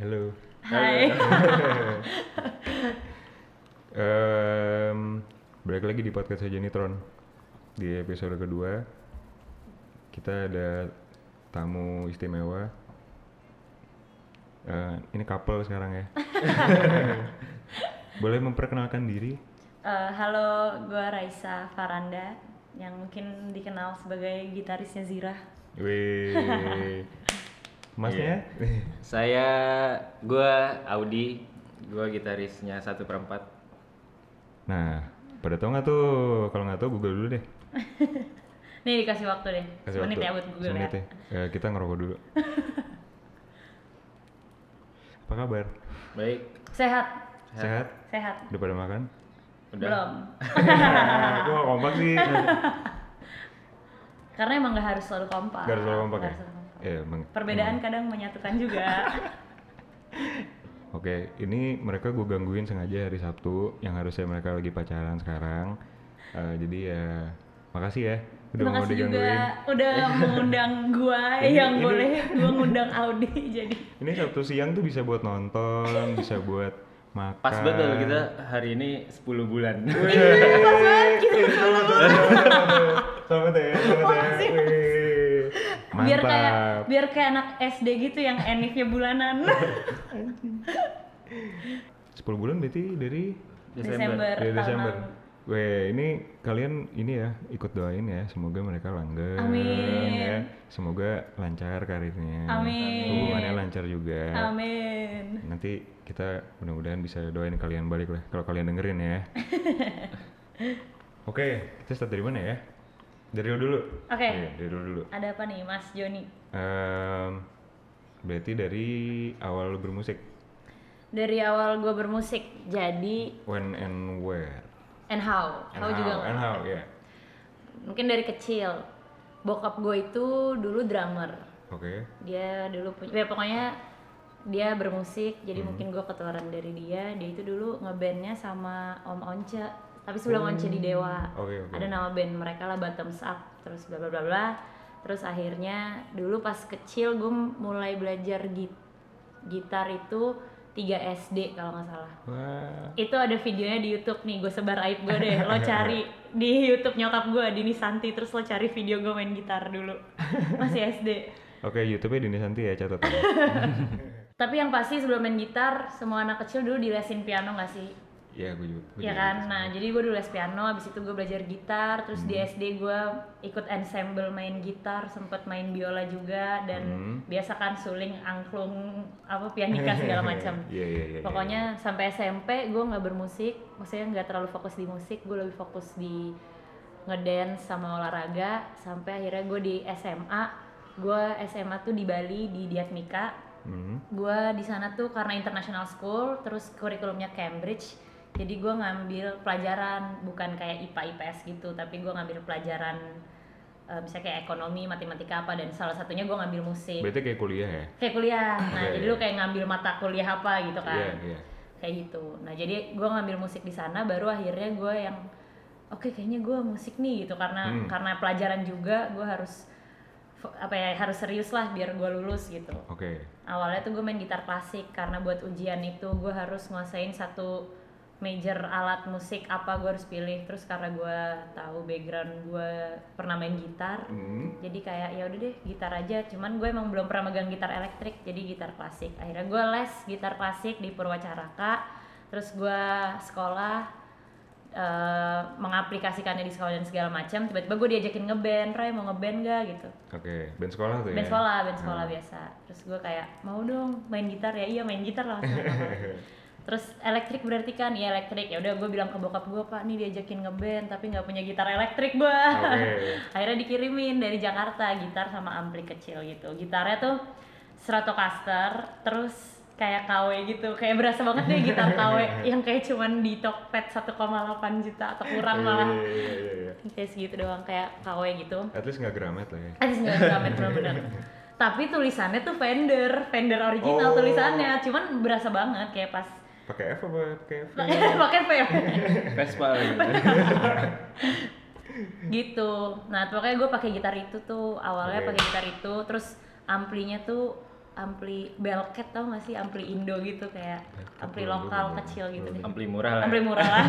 Halo. Hai. Em, balik lagi di podcast Jenitron. Di episode kedua kita ada tamu istimewa. Eh, ini couple sekarang ya. Boleh memperkenalkan diri? Eh, halo, gua Raisa Faranda yang mungkin dikenal sebagai gitarisnya Zira. Wih. Masnya? Saya, gua Audi, gua gitarisnya satu perempat. Nah, pada tau nggak tuh? Kalau nggak tahu Google dulu deh. Nih dikasih waktu deh, Kasih menit waktu. ya buat Google Semenit ya. ya. Eh, kita ngerokok dulu. Apa kabar? Baik, Sehat, Sehat? sehat. Udah pada makan? udah. Belum. Aku nggak kompak sih. Karena emang gak harus selalu kompak. Gak harus selalu kompak Nggak ya? harus selalu kompak. Iya, emang. Perbedaan kadang menyatukan juga. Oke, ini mereka gue gangguin sengaja hari Sabtu yang harusnya mereka lagi pacaran sekarang. Eh, jadi ya makasih ya udah Terima mau kasih juga digangguin. udah mengundang gua Ini- yang ini- boleh gua ngundang Audi jadi Ini Sabtu siang tuh bisa buat nonton, bisa buat makan. Pas banget loh kita hari ini 10 bulan. Wih, pas banget kita selamat, selamat, selamat ya, selamat ya. Wih, biar kayak Mantap. biar kayak anak SD gitu yang enifnya bulanan. 10 bulan berarti dari Desember, dari tahun Desember. lalu. Weh, ini kalian ini ya ikut doain ya, semoga mereka langgeng Amin. ya. Semoga lancar karirnya. Amin. Hubungannya lancar juga. Amin. Nanti kita mudah-mudahan bisa doain kalian balik lah kalau kalian dengerin ya. Oke, kita start dari mana ya? Dari lu dulu. Oke. Iya, dari lu dulu. Ada apa nih Mas Joni? Em, berarti dari awal lu bermusik, Dari awal gue bermusik, jadi when and where? and how, And how, juga And how, ya. mungkin dari kecil. Bokap gue itu dulu drummer, Oke. dia dulu punya, ya pokoknya dia bermusik, jadi mungkin gue ketularan dari dia. Dia itu dulu ngebandnya sama Om Once, tapi sebelum Once di Dewa, Oke, oke. ada nama band mereka lah Bottoms Up, terus bla bla bla bla. Terus akhirnya dulu pas kecil gue mulai belajar git- gitar itu 3 SD kalau nggak salah. Wah. itu ada videonya di YouTube nih gue sebar aib gue deh lo cari di YouTube nyokap gue Dini Santi terus lo cari video gue main gitar dulu masih SD Oke, YouTube-nya Dini Santi ya catat. ya. tapi yang pasti sebelum main gitar semua anak kecil dulu dilesin piano gak sih Iya, gue juga. gua Iya juga kan, nah jadi gue dulu les piano, abis itu gue belajar gitar, terus di SD gue ikut ensemble main gitar, sempet main biola juga, dan Hmm. biasa kan suling, angklung, apa pianika segala macam. Iya, iya, iya, iya. Pokoknya sampai SMP gue nggak bermusik, maksudnya nggak terlalu fokus di musik, gue lebih fokus di ngedance sama olahraga. Sampai akhirnya gue di SMA, gue SMA tuh di Bali di Diatmika, Hmm. gue di sana tuh karena international school terus kurikulumnya Cambridge jadi gue ngambil pelajaran bukan kayak IPA IPS gitu tapi gue ngambil pelajaran eh, bisa kayak ekonomi matematika apa dan salah satunya gue ngambil musik Berarti kayak kuliah ya? kayak kuliah nah Iya, jadi iya. lu kayak ngambil mata kuliah apa gitu kan Iya, iya. kayak gitu nah jadi gue ngambil musik di sana baru akhirnya gue yang oke kayaknya gue musik nih gitu karena Hmm. karena pelajaran juga gue harus f- apa ya harus serius lah biar gue lulus gitu Oke. awalnya tuh gue main gitar klasik karena buat ujian itu gue harus nguasain satu major alat musik apa gue harus pilih terus karena gue tahu background gue pernah main gitar Hmm. jadi kayak ya udah deh gitar aja cuman gue emang belum pernah megang gitar elektrik jadi gitar klasik akhirnya gue les gitar klasik di Purwacaraka terus gue sekolah eh, mengaplikasikannya di sekolah dan segala macam tiba-tiba gue diajakin ngeband Ray mau ngeband gak gitu Oke, band sekolah tuh ya? band sekolah band sekolah Hmm. biasa terus gue kayak mau dong main gitar ya iya main gitar lah langsung apa-apa. terus elektrik berarti kan iya elektrik ya udah gue bilang ke bokap gue pak nih diajakin ngeband tapi nggak punya gitar elektrik gue Oke. Iya, akhirnya dikirimin dari Jakarta gitar sama ampli kecil gitu gitarnya tuh Stratocaster terus kayak KW gitu kayak berasa banget nih gitar KW yang kayak cuman di Tokped 1,8 juta atau kurang Iya, malah Iya, iya, iya, iya. kayak segitu doang kayak KW gitu At least nggak gramet lah ya. Ada sembilan gramet bener-bener. Tapi tulisannya tuh vendor, vendor original Oh. tulisannya, cuman berasa banget kayak pas Pakai F apa pakai F? pakai V Vespa gitu. gitu. Nah, pokoknya gue pakai gitar itu tuh awalnya Oke. pakai gitar itu, terus amplinya tuh ampli belket tau gak sih ampli Indo gitu kayak Belket ampli belum, lokal belum, kecil gitu belum. deh ampli murah lah ampli murah lah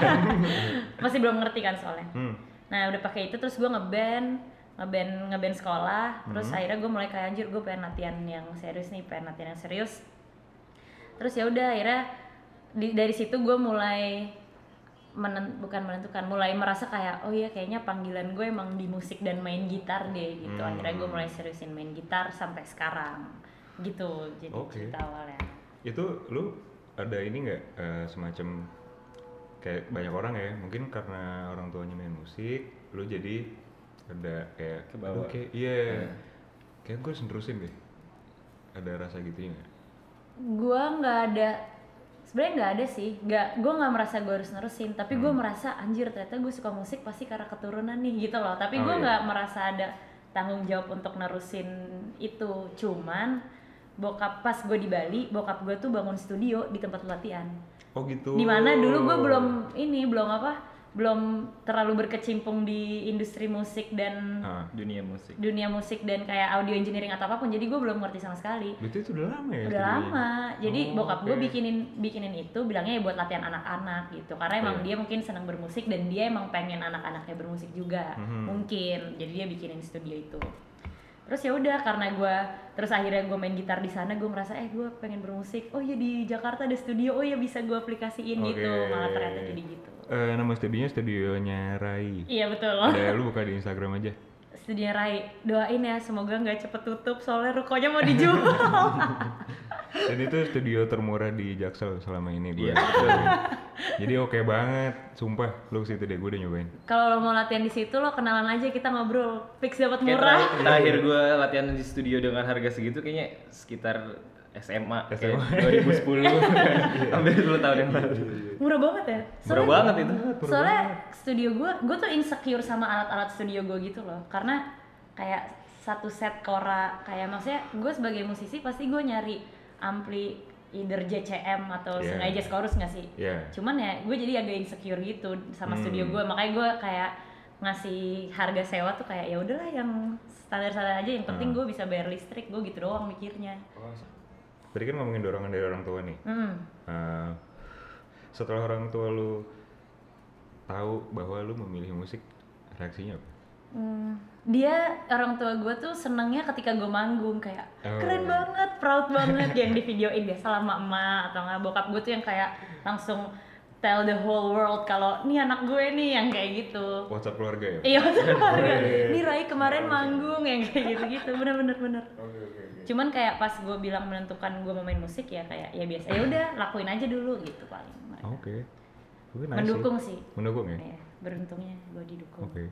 masih belum ngerti kan soalnya Hmm. nah udah pakai itu terus gue ngeband ngeband ngeband sekolah terus akhirnya gue mulai kayak anjir gue pengen latihan yang serius nih pengen latihan yang serius terus ya udah akhirnya di- dari situ gue mulai menen- bukan menentukan mulai merasa kayak oh iya kayaknya panggilan gue emang di musik dan main gitar deh gitu akhirnya gue mulai seriusin main gitar sampai sekarang gitu jadi Oke. cerita awalnya Itu lu ada ini nggak eh, semacam kayak banyak orang ya mungkin karena orang tuanya main musik lu jadi ada kayak Ke "Aduh, bawah. kayak iya kayak gue harus nerusin deh ada rasa gitu nggak gue nggak ada sebenarnya nggak ada sih nggak gue nggak merasa gue harus nerusin tapi Hmm. gue merasa anjir ternyata gue suka musik pasti karena keturunan nih gitu loh tapi Oh, gue iya. nggak merasa ada tanggung jawab untuk nerusin itu cuman bokap pas gue di Bali bokap gue tuh bangun studio di tempat latihan oh gitu dimana dulu gue belum ini belum apa belum terlalu berkecimpung di industri musik dan ah. dunia musik dunia musik dan kayak audio engineering atau apapun jadi gue belum ngerti sama sekali Berarti itu udah lama ya? udah studionya? lama jadi Oh, bokap gue oke. bikinin bikinin itu bilangnya ya buat latihan anak-anak gitu karena emang Iya. dia mungkin senang bermusik dan dia emang pengen anak-anaknya bermusik juga Mhm. mungkin jadi dia bikinin studio itu terus ya udah karena gue terus akhirnya gue main gitar di sana gue merasa eh gue pengen bermusik oh ya di Jakarta ada studio oh ya bisa gue aplikasiin gitu Oke. malah ternyata jadi gitu Eh, nama studionya studionya Rai. iya betul Ada lu buka di Instagram aja. studio Rai doain ya semoga nggak cepet tutup soalnya rukonya mau dijual Dan itu studio termurah di Jaksel selama ini gue. Iya. Jadi oke banget, sumpah lu ke situ deh gue udah nyobain. Kalau lo mau latihan di situ lo kenalan aja kita ngobrol. Fix dapat Kayak murah. terakhir- terakhir gue latihan di studio dengan harga segitu kayaknya sekitar SMA, kayak SMA. 2010 hampir 10 tahun yang lalu Murah banget ya? murah banget itu Soalnya studio gue, gue tuh insecure sama alat-alat studio gue gitu loh. Karena kayak satu set kora kayak maksudnya gue sebagai musisi pasti gue nyari ampli either JCM atau Iya. sengaja chorus nggak sih? Iya. Cuman ya gue jadi agak insecure gitu sama Hmm. studio gue, makanya gue kayak ngasih harga sewa tuh kayak ya udahlah yang standar-standar aja yang Hmm. penting gue bisa bayar listrik gue gitu doang mikirnya. Tadi kan ngomongin dorongan dari orang tua nih. Hmm. Eh, setelah orang tua lu tahu bahwa lu memilih musik, reaksinya apa? Hmm, dia orang tua gue tuh senengnya ketika gue manggung kayak Oh. keren banget, proud banget yang di videoin biasa lama emak atau nggak bokap gue tuh yang kayak langsung tell the whole world kalau nih anak gue nih yang kayak gitu. WhatsApp keluarga ya? Iya maksudnya keluarga, nih Rai kemarin manggung yang kayak gitu-gitu, bener-bener bener. Cuman kayak pas gue bilang menentukan gue mau main musik ya kayak ya biasa ya udah lakuin aja dulu gitu paling. Ah, Oke. Gue nice Oh, sih. Mendukung sih, Mendukung ya? Iya, beruntungnya gue didukung. Oke.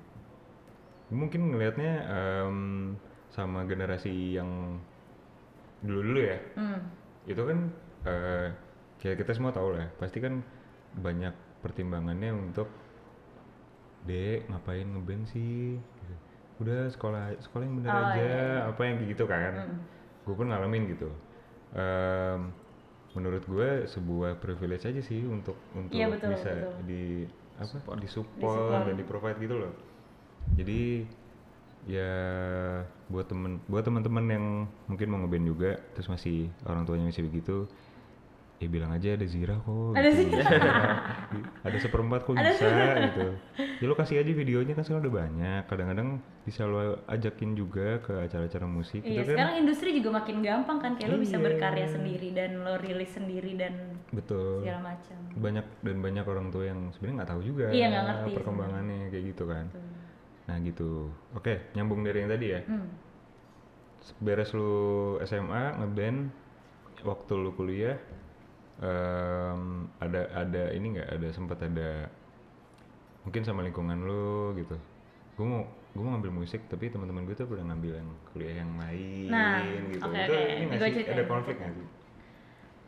Mungkin ngelihatnya em, sama generasi yang dulu-dulu ya. Hmm. Itu kan eh, kayak kita semua tahu lah, pasti kan banyak pertimbangannya untuk Dek, ngapain ngeband sih? Gitu. Udah sekolah sekolah yang bener Oh, aja, iya, apa yang kayak gitu kan. Gue pun ngalamin gitu. Em, menurut gue sebuah privilege aja sih untuk untuk Iya, betul, bisa betul. di apa disupport, Disupport. dan di provide gitu loh jadi ya buat temen buat teman-teman yang mungkin mau ngeband juga terus masih orang tuanya masih begitu ya bilang aja ada zira kok Ada gitu. Zira. ada seperempat kok bisa gitu ya lo kasih aja videonya kan sekarang udah banyak kadang-kadang bisa lo ajakin juga ke acara-acara musik Iya, gitu kan sekarang industri juga makin gampang kan kayak lo bisa Iya. berkarya sendiri dan lo rilis sendiri dan betul segala macam. banyak dan banyak orang tua yang sebenarnya nggak tahu juga Iya, nggak ngerti perkembangannya kayak gitu kan nah gitu oke nyambung dari yang tadi ya Hmm. beres lu SMA ngeband waktu lu kuliah em, ada ada ini nggak ada sempat ada mungkin sama lingkungan lu gitu gue mau gue mau ngambil musik tapi teman-teman gue tuh udah ngambil yang kuliah yang lain Nah, gitu oke, itu oke. ini nggak Gua sih ada ceritain. konflik nggak sih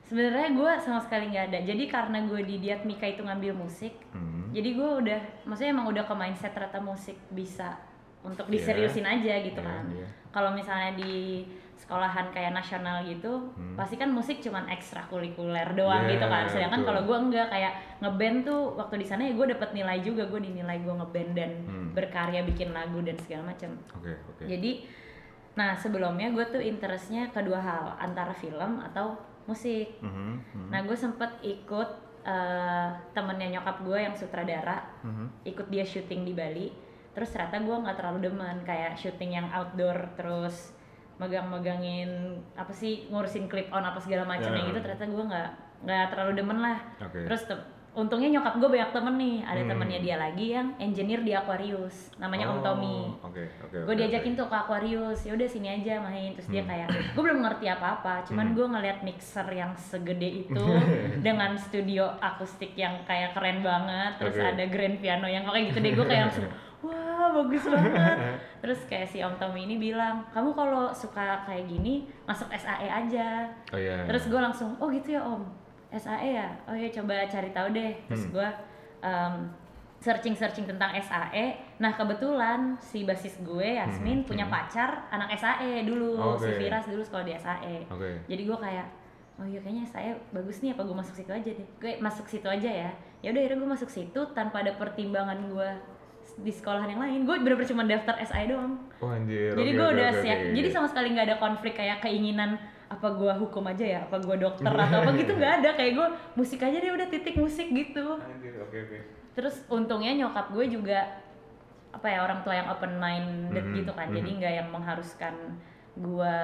Sebenarnya gue sama sekali nggak ada. Jadi karena gue di Diatmika itu ngambil musik, Hmm. jadi gue udah, maksudnya emang udah ke mindset ternyata musik bisa untuk Iya. diseriusin aja gitu Iya, kan. iya. Kalau misalnya di sekolahan kayak nasional gitu, pasti kan musik cuman ekstrakurikuler doang Hmm. Iya, gitu kan. Sedangkan betul. kalau gue enggak kayak ngeband tuh waktu di sana ya gue dapet nilai juga, gue dinilai gue ngeband dan Hmm. berkarya bikin lagu dan segala macam. oke oke Jadi Nah sebelumnya gue tuh interestnya kedua hal antara film atau musik. Mhm, mhm, Nah gue sempet ikut eh, temennya nyokap gue yang sutradara mhm. ikut dia syuting di Bali terus ternyata gue nggak terlalu demen kayak syuting yang outdoor terus megang-megangin apa sih ngurusin clip on apa segala macamnya Ya. gitu ternyata gue nggak nggak terlalu demen lah Oke. terus te- untungnya nyokap gue banyak temen nih ada Hmm. temennya dia lagi yang engineer di Aquarius namanya Oh, Om Tommy Oke, oke. gue diajakin tuh ke Aquarius ya udah sini aja main terus dia Hmm. kayak gue belum ngerti apa apa Hmm. cuman gue ngeliat mixer yang segede itu dengan studio akustik yang kayak keren banget terus Oke. ada grand piano yang kayak gitu deh gue kayak langsung wah bagus banget terus kayak si Om Tommy ini bilang kamu kalau suka kayak gini masuk SAE aja Oh iya. terus gue langsung oh gitu ya om SAE ya oh ya coba cari tahu deh terus Hmm. gue searching searching tentang SAE nah kebetulan si basis gue Yasmin Hmm, punya hmm. pacar anak SAE dulu si Oke. Firas dulu sekolah di E. SAE Oke. jadi gue kayak oh iya kayaknya saya bagus nih apa gue masuk situ aja deh gue masuk situ aja ya ya udah akhirnya gue masuk situ tanpa ada pertimbangan gue di sekolah yang lain gue bener-bener cuma daftar SAE doang Oh anjir. jadi oke, gue oke, udah oke, siap. oke. Jadi sama sekali nggak ada konflik kayak keinginan apa gue hukum aja ya, apa gue dokter atau apa gitu nggak ada. Kayak gue musik aja deh udah titik musik gitu. Anjir, oke oke. Terus untungnya nyokap gue juga apa ya orang tua yang open minded Mhm, gitu kan. Jadi mhm. nggak yang mengharuskan gue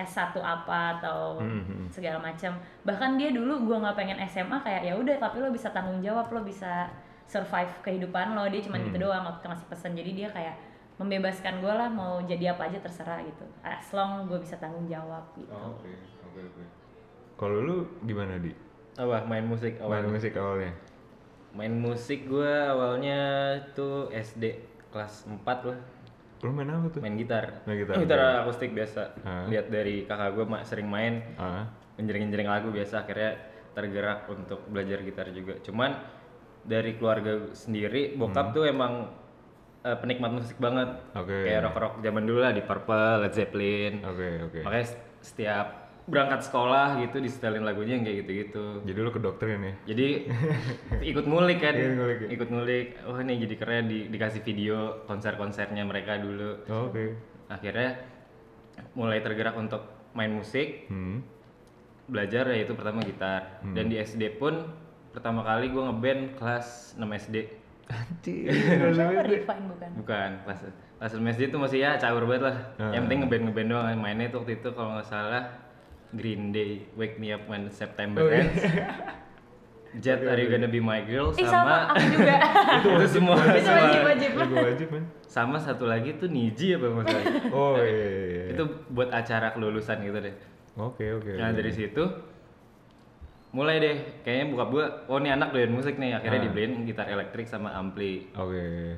S1 apa atau Mhm. segala macam. Bahkan dia dulu gue nggak pengen SMA kayak ya udah tapi lo bisa tanggung jawab, lo bisa survive kehidupan lo. Dia cuman Hmm. gitu doang waktu masih pesan. Jadi dia kayak membebaskan gue lah mau jadi apa aja terserah gitu. As long gue bisa tanggung jawab gitu. Oh, Oke, oke oke. Kalau lu gimana di? Apa main musik Main awalnya? musik awalnya. Main musik gua awalnya tuh SD kelas 4 lah. Lu main apa tuh? Main gitar. Main gitar, oke. akustik biasa. Ah. Lihat dari kakak gua mak sering main Ah, menjering-jering lagu biasa akhirnya tergerak untuk belajar gitar juga. Cuman dari keluarga sendiri bokap tuh emang eh, penikmat musik banget. Hmm. Oke. Kayak rock-rock zaman dulu lah di Purple, Led Zeppelin. oke oke. Makanya s- setiap berangkat sekolah gitu disetelin lagunya yang kayak gitu-gitu. Jadi lu ke dokterin ya? Jadi ikut ngulik kan, Ikut ngulik, ya. ikut ngulik. Wah nih jadi keren di- dikasih video konser-konsernya mereka dulu. Oh, oke. Akhirnya mulai tergerak untuk main musik, Hmm. belajar yaitu pertama gitar. Dan di SD pun pertama kali gue ngeband kelas 6 SD. Anjir. Kenapa refine bukan? Bukan kelas kelas 6 SD itu masih ya caur banget lah. Ah. Yang penting ngeband ngeband doang. Mainnya tuh waktu itu kalau nggak salah Green Day, Wake Me Up When Oh, September iya. Ends. Jet Are You Gonna Be My Girl Eh sama, aku juga. itu semua Itu semua. wajib wajib. Lagu wajib man. sama satu lagi tuh Niji apa masalahnya Oh iya iya iya. itu buat acara kelulusan gitu deh Oke oke. nah oke. dari situ mulai deh kayaknya buka gua oh ini anak doyan musik nih akhirnya Ah. dibeliin gitar elektrik sama ampli Oke.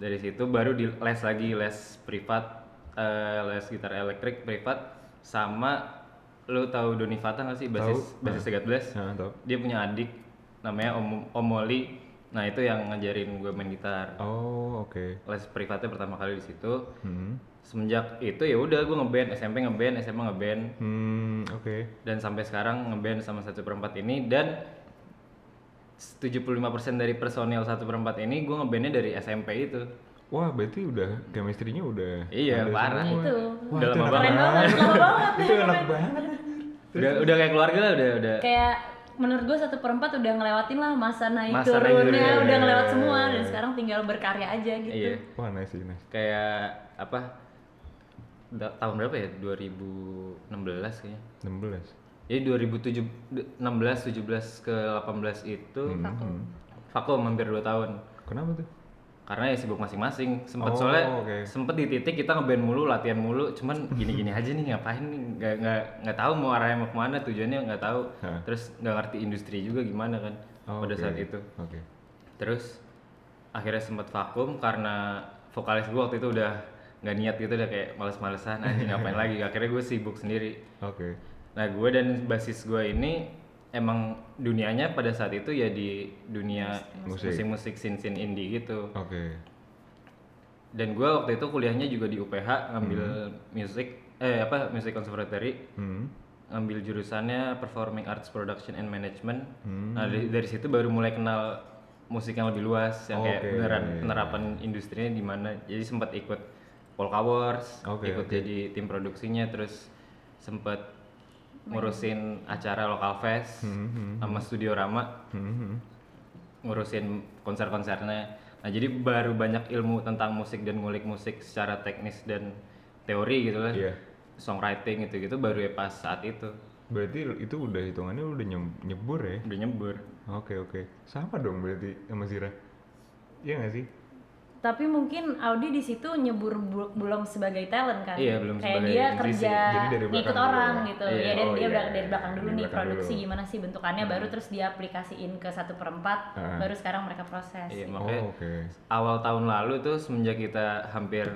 dari situ baru di les lagi les privat eh, les gitar elektrik privat sama lo tahu Doni Fata nggak sih basis Tahu. basis 13 Nah, top. dia punya adik namanya Om Om Moli nah itu yang ngajarin gue main gitar Oh, oke. les privatnya pertama kali di situ Hmm. semenjak itu ya udah gue ngeband SMP ngeband SMA ngeband Hmm, oke. dan sampai sekarang ngeband sama satu perempat ini dan 75% dari personil satu perempat ini gue ngebandnya dari SMP itu Wah, berarti udah chemistry-nya udah Iya, ada parah. semua. Itu. Wah, Udah itu lama enak Keren banget, lama banget. Itu enak banget. udah udah kayak keluarga lah udah udah kayak menurut gue satu perempat udah ngelewatin lah masa naik Masa naik turunnya turunnya, udah iya, ngelewat iya, semua iya. dan sekarang tinggal berkarya aja gitu iya Wah, nice sih, nice. kayak apa da- tahun berapa ya 2016 kayaknya 16. jadi 2016 17 ke 18 itu Hmm. Vakum. vakum hampir 2 tahun Kenapa tuh? karena ya sibuk masing-masing sempet Oh, soalnya oke. sempet di titik kita ngeband mulu latihan mulu cuman gini-gini aja nih ngapain nih nggak nggak nggak tahu mau arahnya mau kemana tujuannya nggak tahu Hah. terus nggak ngerti industri juga gimana kan Oh, pada oke. saat itu Oke. terus akhirnya sempet vakum karena vokalis gue waktu itu udah nggak niat gitu udah kayak males-malesan anjing ngapain lagi akhirnya gue sibuk sendiri Oke. nah gue dan basis gue ini emang dunianya pada saat itu ya di dunia Musik. musik-musik sin-sin indie gitu Oke. dan gue waktu itu kuliahnya juga di UPH ngambil music eh apa music conservatory Hmm. ngambil jurusannya performing arts production and management Hmm. nah dari, dari situ baru mulai kenal musik yang lebih luas yang kayak Oke. beneran penerapan industrinya di mana jadi sempat ikut Polkawars, Oke, ikut oke. jadi tim produksinya, terus sempet ngurusin acara lokal fest sama Studio Rama, Hmm, ngurusin konser-konsernya. Nah jadi baru banyak ilmu tentang musik dan ngulik musik secara teknis dan teori gitu lah, Iya. songwriting gitu-gitu baru ya pas saat itu Berarti itu udah hitungannya udah nyem- nyebur ya? udah nyebur. Oke oke, sama dong berarti sama Zira. Iya nggak sih? Tapi mungkin Audi di situ nyebur bu- belum sebagai talent kan? Iya, belum Kayak sebagai dia musisi. kerja Jadi dari ngikut belakang dulu orang ya? gitu. Iya. Ya dia, Oh, dia iya, udah iya, dari belakang dari dulu nih belakang produksi dulu. Hmm. gimana sih bentukannya baru terus diaplikasiin ke satu perempat Heeh. baru sekarang mereka proses. Iya Oh makanya oke. awal tahun lalu tuh semenjak kita hampir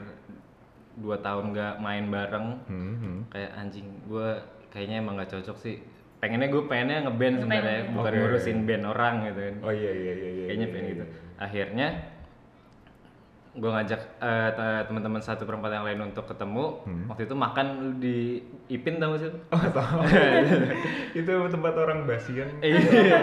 dua tahun nggak main bareng Hmm, hmm. kayak anjing gue kayaknya emang nggak cocok sih pengennya gue pengennya ngeband sebenarnya Pengen. bukan Oke. ngurusin band orang gitu kan Oh iya iya iya. iya, kayaknya iya, pengen iya, gitu iya. akhirnya gue ngajak eh, te- teman-teman satu perempat yang lain untuk ketemu waktu itu makan di Ipin tau gak sih lu? Oh tahu. itu tempat orang basian. Iya.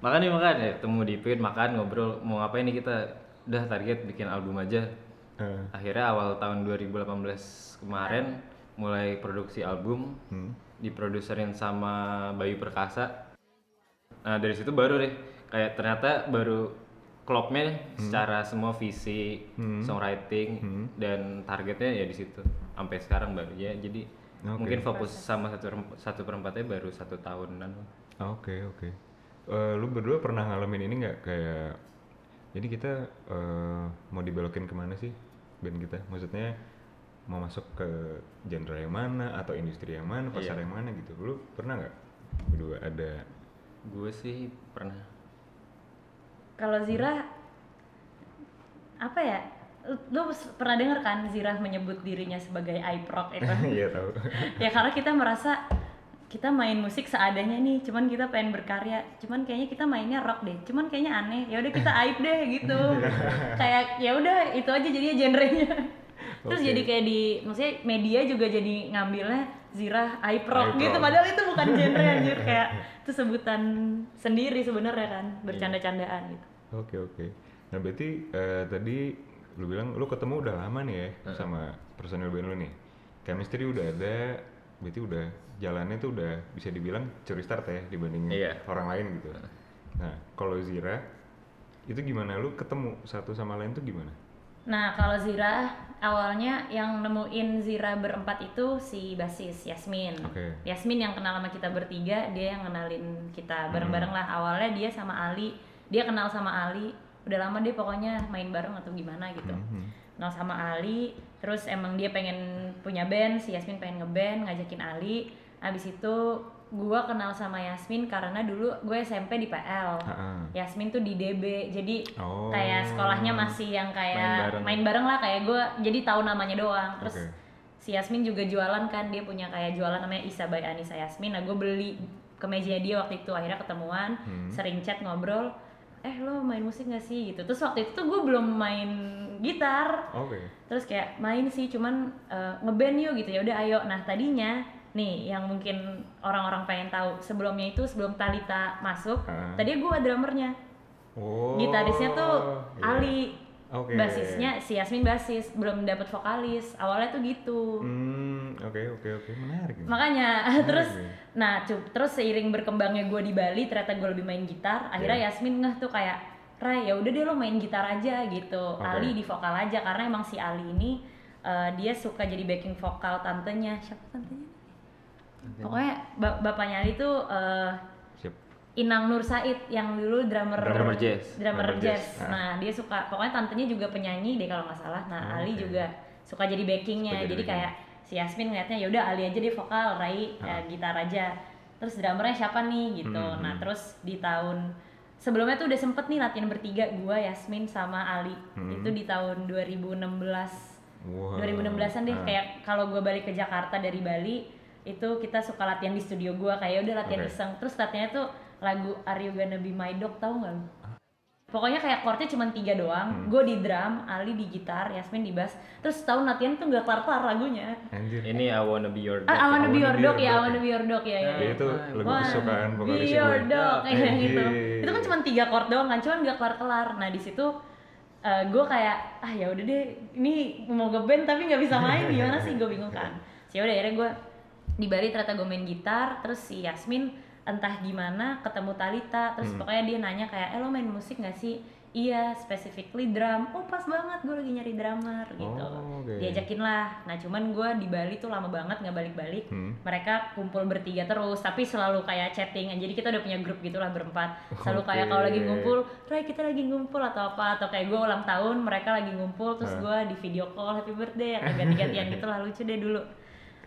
makan nih makan ya temu di Ipin makan ngobrol mau ngapain nih kita udah target bikin album aja Eh, akhirnya awal tahun 2018 kemarin mulai produksi album hmm. diproduserin sama Bayu Perkasa nah dari situ baru deh kayak ternyata baru klopnya secara semua visi songwriting dan targetnya ya di situ sampai sekarang baru ya jadi Oke. mungkin fokus sama satu rem- satu perempatnya baru satu tahunan Oke oke. Eh, lu berdua pernah ngalamin ini nggak kayak jadi kita eh, mau dibelokin kemana sih band kita? Maksudnya mau masuk ke genre yang mana atau industri yang mana pasar yang mana gitu? Lu pernah nggak berdua ada? gue sih pernah Kalau Zira apa ya? Lu pernah denger kan Zira menyebut dirinya sebagai iProc itu? Iya tahu. ya karena kita merasa kita main musik seadanya nih cuman kita pengen berkarya cuman kayaknya kita mainnya rock deh cuman kayaknya aneh ya udah kita aib deh gitu kayak ya udah itu aja jadinya genrenya terus Oke. jadi kayak di maksudnya media juga jadi ngambilnya zirah aib rock Aib gitu rock. padahal itu bukan genre anjir kayak itu sebutan sendiri sebenarnya kan Iya. bercanda-candaan gitu Oke oke. Nah berarti eh, tadi lu bilang lu ketemu udah lama nih ya sama personil band lu nih. Chemistry udah ada, berarti udah jalannya tuh udah bisa dibilang curi start ya dibandingin Iya. orang lain gitu. Nah kalau Zira itu gimana lu ketemu satu sama lain tuh gimana? Nah, kalau Zira awalnya yang nemuin Zira berempat itu si basis Yasmin. Oke. Yasmin yang kenal sama kita bertiga, dia yang kenalin kita bareng-bareng lah. Awalnya dia sama Ali, dia kenal sama Ali. Udah lama dia pokoknya main bareng atau gimana gitu. Hmm. Mhm. Kenal sama Ali, terus emang dia pengen punya band, si Yasmin pengen ngeband, ngajakin Ali. Abis itu gua kenal sama Yasmin karena dulu gue SMP di PL. Ha-ha. Yasmin tuh di DB, jadi Ah. Oh. kayak sekolahnya masih yang kayak Main bareng. main bareng lah kayak gue jadi tahu namanya doang terus Oke. si Yasmin juga jualan kan dia punya kayak jualan namanya Isa by Anissa Yasmin nah gue beli kemejanya dia waktu itu akhirnya ketemuan Hmm. Mhm. sering chat ngobrol eh lo main musik gak sih gitu terus waktu itu tuh gue belum main gitar Oke. terus kayak main sih cuman eh, ngeband yuk gitu ya udah ayo nah tadinya nih yang mungkin orang-orang pengen tahu sebelumnya itu sebelum Talita masuk Ah. tadinya gue drummernya Oh. gitarisnya tuh iya. Ali Oke. basisnya si Yasmin basis belum dapat vokalis awalnya tuh gitu Hmm, oke oke oke menarik. nih. makanya terus iya. nah cu- terus seiring berkembangnya gue di Bali ternyata gue lebih main gitar akhirnya Iya. Yasmin ngeh tuh kayak Ray ya udah deh lo main gitar aja gitu Oke. Ali di vokal aja karena emang si Ali ini eh, dia suka jadi backing vokal tantenya siapa tantenya Iya. pokoknya ba- bapaknya Ali tuh eh, Siap. Inang Nur Said yang dulu drummer Drummer jazz. drummer Drummer jazz. jazz. Nah, dia suka pokoknya tantenya juga penyanyi deh kalau nggak salah. Nah, Oh, Ali oke. juga suka jadi backingnya. Suka Jadi, jadi backing. Ah. kayak si Yasmin ngeliatnya yaudah Ali aja deh vokal, Rai ya, gitar aja. Terus drummernya siapa nih gitu. Hmm, Nah, terus di tahun sebelumnya tuh udah sempet nih latihan bertiga gua Yasmin sama Ali. Hmm. Itu di tahun 2016 Wow. 2016-an deh Ah. kayak kalau gue balik ke Jakarta dari Bali itu kita suka latihan di studio gue kayak ya udah latihan Oke. iseng terus latihannya tuh lagu Are You Gonna Be My Dog tau nggak lu? Pokoknya kayak chordnya cuma tiga doang, gue di drum, Ali di gitar, Yasmin di bass Terus tahun latihan tuh nggak kelar-kelar lagunya Anjir. ini I wanna be your Ah, I wanna be your dog ya, I dog, wanna ya. be your dog ya, ya, Ya, ya. itu lagu Wanna kesukaan vokalis be your gue. dog iya, kayak Anjir. gitu. Itu kan cuma tiga chord doang kan, cuman gak kelar-kelar. Nah, di situ eh, eh, gue kayak ah ya udah deh ini mau ngeband tapi nggak bisa main gimana sih gue bingung kan sih udah akhirnya gue di Bali ternyata gue main gitar terus si Yasmin entah gimana ketemu Talita terus Hmm. pokoknya dia nanya kayak eh lo main musik gak sih iya specifically drum oh pas banget gue lagi nyari drummer gitu Oh, oke. diajakin lah nah cuman gue di Bali tuh lama banget nggak balik-balik Hmm. mereka kumpul bertiga terus tapi selalu kayak chatting jadi kita udah punya grup gitulah berempat selalu kayak Oke. kalau lagi ngumpul Ray kita lagi ngumpul atau apa atau kayak gue ulang tahun mereka lagi ngumpul terus Hah. gue di video call happy birthday atau ganti-gantian gitu lah lucu deh dulu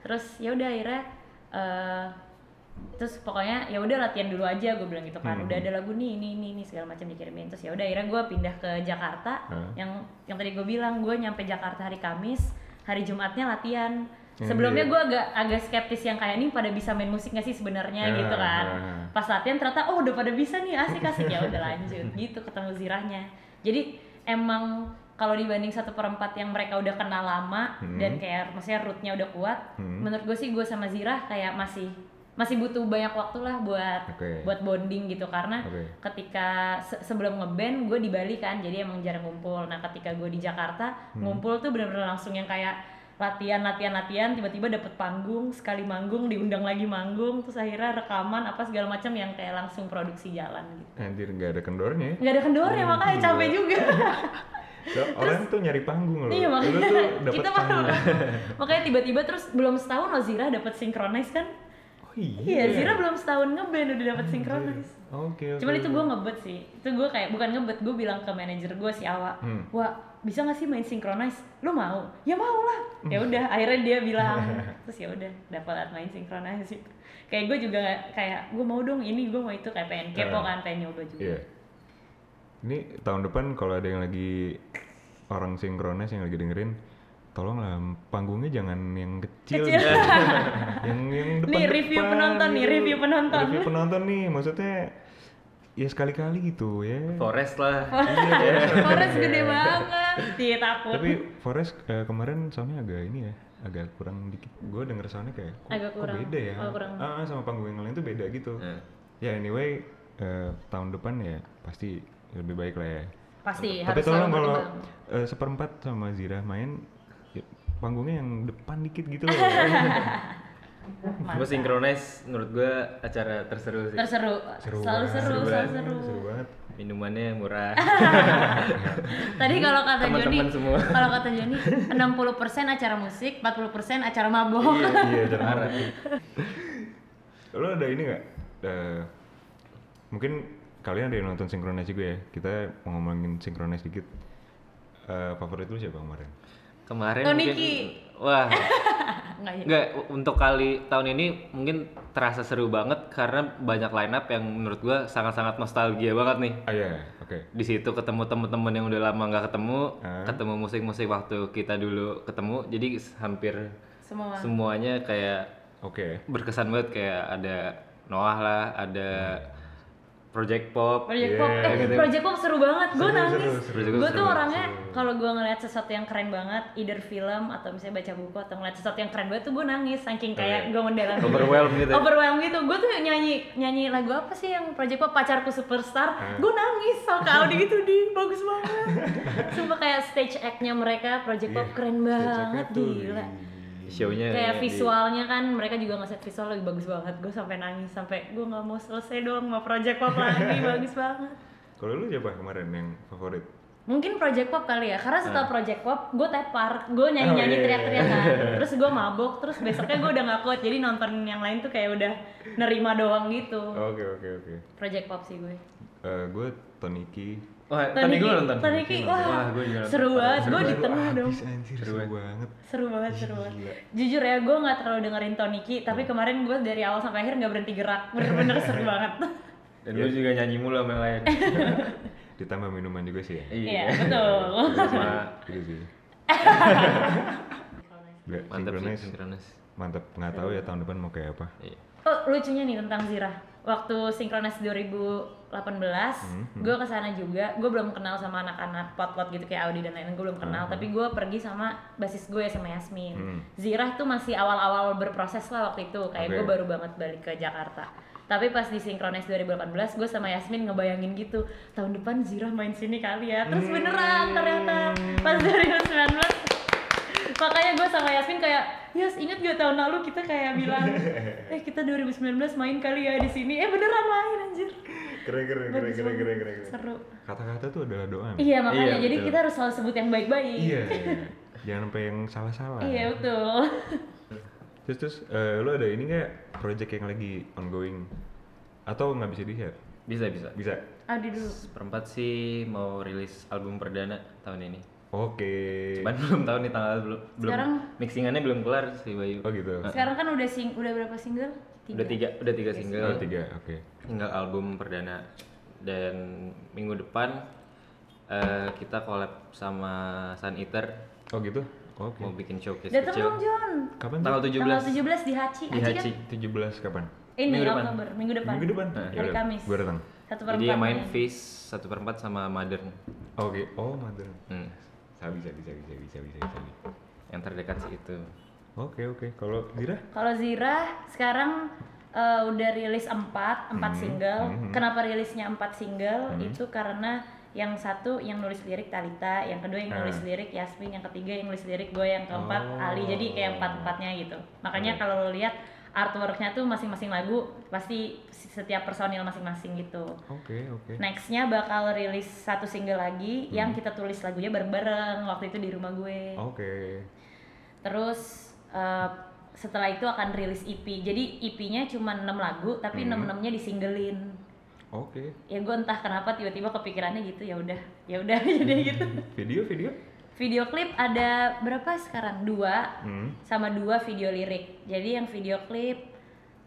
terus ya udah akhirnya eh, terus pokoknya ya udah latihan dulu aja gue bilang gitu kan Hmm. udah ada lagu nih ini ini ini segala macam dikirimin terus ya udah akhirnya gue pindah ke Jakarta Hah. yang yang tadi gue bilang gue nyampe Jakarta hari Kamis hari Jumatnya latihan Yang sebelumnya di- gue agak agak skeptis yang kayak ini pada bisa main musik nggak sih sebenarnya Ya, gitu kan ya. pas latihan ternyata oh udah pada bisa nih asik asik ya udah lanjut gitu ketemu zirahnya jadi emang kalau dibanding satu perempat yang mereka udah kenal lama Hmm. dan kayak maksudnya rootnya udah kuat Hmm. menurut gue sih gue sama zirah kayak masih masih butuh banyak waktu lah buat Oke. buat bonding gitu karena Oke. ketika se- sebelum ngeband gue di Bali kan jadi emang jarang ngumpul nah ketika gue di Jakarta Hmm. ngumpul tuh bener-bener langsung yang kayak latihan latihan latihan tiba-tiba dapet panggung sekali manggung diundang lagi manggung terus akhirnya rekaman apa segala macam yang kayak langsung produksi jalan gitu Anjir nggak ada kendornya. ya. nggak ada kendornya Hmm, makanya iya. capek juga So, orang tuh nyari panggung loh. iya Lu makanya tuh dapat kita panggung. malah makanya tiba-tiba terus belum setahun loh Zira dapat synchronize kan Oh iya. iya Zira belum setahun ngeband udah dapat synchronize Oke. Hmm. oke, Cuman itu oke. gue ngebet sih, itu gue kayak bukan ngebet, gue bilang ke manajer gue si Awa, Hmm. wah bisa gak sih main synchronize? Lu mau? Ya mau lah. Ya udah, akhirnya dia bilang, terus ya udah dapat main synchronize sih. Kayak gue juga kayak gue mau dong ini, gue mau itu kayak pengen kepo Eh. kan, pengen nyoba juga. Iya. Ini tahun depan kalau ada yang lagi orang sinkronis yang lagi dengerin, tolonglah panggungnya jangan yang kecil. Kecil. gitu. yang yang depan. gitu. review penonton nih, review penonton. Review penonton nih, maksudnya ya sekali-kali gitu ya. ah. Forest lah. Forest gede banget, dia takut. Tapi Forest eh, kemarin soundnya agak ini ya, agak kurang dikit. Gue denger soundnya kayak kok, Agak kok kurang. beda ya. Oh, kurang. Ah, ah, sama panggung yang lain tuh beda gitu. Hmm. Ya anyway, eh, tahun depan ya pasti lebih baik lah ya. Pasti Tapi harus tolong selalu kalau berkembang. eh, seperempat sama Zira main ya, panggungnya yang depan dikit gitu loh. Gue sinkronize menurut gue acara terseru sih. terseru, seru selalu banget. seru, selalu banget, seru. seru banget. Minumannya murah. Tadi kalau kata Teman-teman Joni, semua. kalau kata Joni 60% acara musik, 40% acara mabok. iya, cara Lo ada ini nggak? Eh, mungkin kalian ada yang nonton sinkronis juga ya. Kita mau ngomongin sinkronis dikit. Eh, favorit lu siapa kemarin? Kemarin Oh, mungkin Niki. wah Iya. Enggak ya. Nggak, u- untuk kali tahun ini mungkin terasa seru banget karena banyak line up yang menurut gua sangat-sangat nostalgia banget nih. Ah iya, oke. Di situ ketemu temen-temen yang udah lama nggak ketemu, Ah. ketemu musik-musik waktu kita dulu ketemu, jadi s- hampir Semua. semuanya kayak Oke. berkesan banget kayak ada Noah lah, ada Project Pop, Project Pop, eh, gitu. Project Pop seru banget, gue Seru, nangis. seru, seru. Gue Seru, tuh orangnya kalau gue ngeliat sesuatu yang keren banget, either film atau misalnya baca buku atau ngeliat sesuatu yang keren banget tuh gue nangis, saking kayak gue mendalami. Overwhelmed gitu. Overwhelmed gitu, gue tuh nyanyi nyanyi lagu apa sih yang Project Pop pacarku superstar, gue nangis sama Kak Audi gitu di, bagus banget. Sumpah kayak stage act-nya mereka Project Pop keren banget, gila. Show-nya Kayak iya, di- visualnya kan mereka juga ngeset visual lebih bagus banget. Gue sampai nangis sampai gue nggak mau selesai dong mau project pop lagi bagus banget. Kalau lu siapa kemarin yang favorit? Mungkin project pop kali ya, karena setelah project pop gue tepar, gue nyanyi nyanyi Oh, iya, iya, teriak teriak kan, terus gue mabok, terus besoknya gue udah nggak kuat, jadi nonton yang lain tuh kayak udah nerima doang gitu. Oke, oke, oke. Project pop sih gue. Eh, gue Toniki. Wah, tadi gue nonton. Toniki, wah, gua juga nonton. seru banget, gue di Aduh, tengah dong. abis, anjir, seru banget. seru banget seru banget jujur ya gue nggak terlalu dengerin Toniki tapi kemarin gue dari awal sampai akhir nggak berhenti gerak bener-bener seru banget Dan gue juga nyanyi mulu sama yang lain. Ditambah minuman juga sih ya. iya betul Sama Gitu sih. Gak, mantap sih sinkronis. sinkronis. Mantap. Nggak tahu ya tahun depan mau kayak apa. Iya. oh lucunya nih tentang Zirah waktu sinkronis 2018 gue kesana juga gue belum kenal sama anak-anak pot-pot gitu kayak Audi dan lain-lain gue belum kenal tapi gue pergi sama basis gue sama Yasmin Hmm. Zirah tuh masih awal-awal berproses lah waktu itu kayak Oke. gue baru banget balik ke Jakarta Tapi pas di Synchronize 2018 gue sama Yasmin ngebayangin gitu, tahun depan Zira main sini kali ya. Hmm. Terus beneran ternyata pas 2019 makanya gue sama Yasmin kayak Yas inget gak tahun lalu kita kayak bilang eh kita 2019 main kali ya di sini eh beneran main anjir keren keren keren Bagus keren banget. keren keren keren. seru kata-kata tuh adalah doa men. iya makanya Iya, jadi betul. kita harus selalu sebut yang baik-baik iya iya. jangan sampai yang salah-salah iya betul terus terus eh, lo ada ini nggak project yang lagi ongoing atau nggak bisa di share bisa bisa bisa Audi dulu perempat sih mau rilis album perdana tahun ini oke cuman belum tahu nih tanggal belum belum Sekarang- mixingannya belum kelar sih Bayu oh gitu sekarang kan udah sing udah berapa single udah tiga udah tiga oh, single tiga oke tinggal album perdana dan minggu depan eh, kita collab sama Sun Eater oh gitu oke mau bikin showcase datang dong kecil John kapan tanggal 17 tanggal 17 di Hachi di Hachi kan Hachi 17 kapan ini Minggu depan. Oktober minggu depan minggu depan Nah, hari Kamis gue datang satu per jadi yang main empatnya. Face satu perempat sama Modern oke oh mother Hmm, sabi sabi sabi sabi sabi sabi sabi yang terdekat sih itu oke oke kalau Dira Kalau Zira sekarang eh, udah rilis 4, 4 Hmm, single. Kenapa rilisnya 4 single? Itu karena yang satu yang nulis lirik Talita, yang kedua yang nulis Ah. Hmm. lirik Yasmin, yang ketiga yang nulis lirik gue, yang keempat Oh. Ali. Jadi kayak empat-empatnya gitu. Makanya kalau lo lihat artworknya tuh masing-masing lagu pasti setiap personil masing-masing gitu. oke oke Nextnya bakal rilis satu single lagi yang kita tulis lagunya bareng-bareng waktu itu di rumah gue. oke Terus eh, setelah itu akan rilis EP. Jadi EP-nya cuma 6 lagu tapi Hmm. 6-6-nya disingelin. oke Ya gue entah kenapa tiba-tiba kepikirannya gitu ya udah. Ya udah jadi gitu. video video Video klip ada berapa sekarang? Dua hmm sama dua video lirik. Jadi yang video klip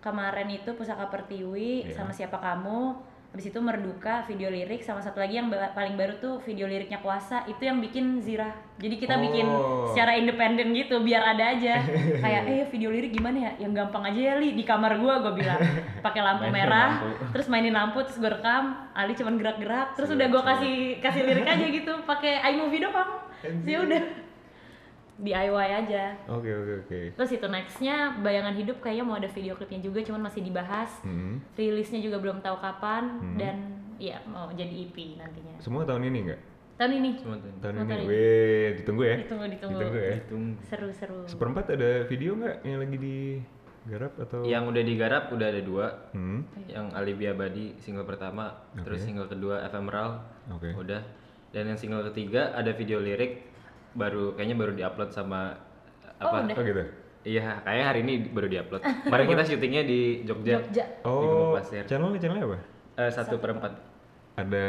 kemarin itu Pusaka Pertiwi Iya. sama Siapa Kamu, habis itu Merduka video lirik sama satu lagi yang ba- paling baru tuh video liriknya Kuasa itu yang bikin Zira. Jadi kita bikin Oh. secara independen gitu biar ada aja. Kayak eh video lirik gimana ya? Yang gampang aja ya Li di kamar gua gua bilang pakai lampu Mainin merah, lampu. terus mainin lampu terus gua rekam, Ali cuman gerak-gerak, terus udah gua kasih kasih lirik aja gitu pakai iMovie doang. Ya udah DIY aja. oke oke oke Terus itu nextnya bayangan hidup kayaknya mau ada video klipnya juga, cuman masih dibahas. hmm Rilisnya juga belum tahu kapan Hmm. dan ya mau jadi EP nantinya. semua tahun ini nggak Tahun ini cuma tuh tahun Semua ini tahun ini. weh ditunggu ya ditunggu ditunggu. ditunggu ya hitung Seru-seru. seperempat ada video nggak yang lagi digarap atau yang udah digarap udah ada dua hmm yang Alibi Abadi single pertama terus Oke. single kedua Ephemeral oke udah dan yang single ketiga ada video lirik baru kayaknya baru diupload sama Oh, apa udah. oh gitu iya kayaknya hari ini baru diupload kemarin kita syutingnya di Jogja, Jogja. oh Pasir. channelnya channelnya apa Eh, satu perempat ada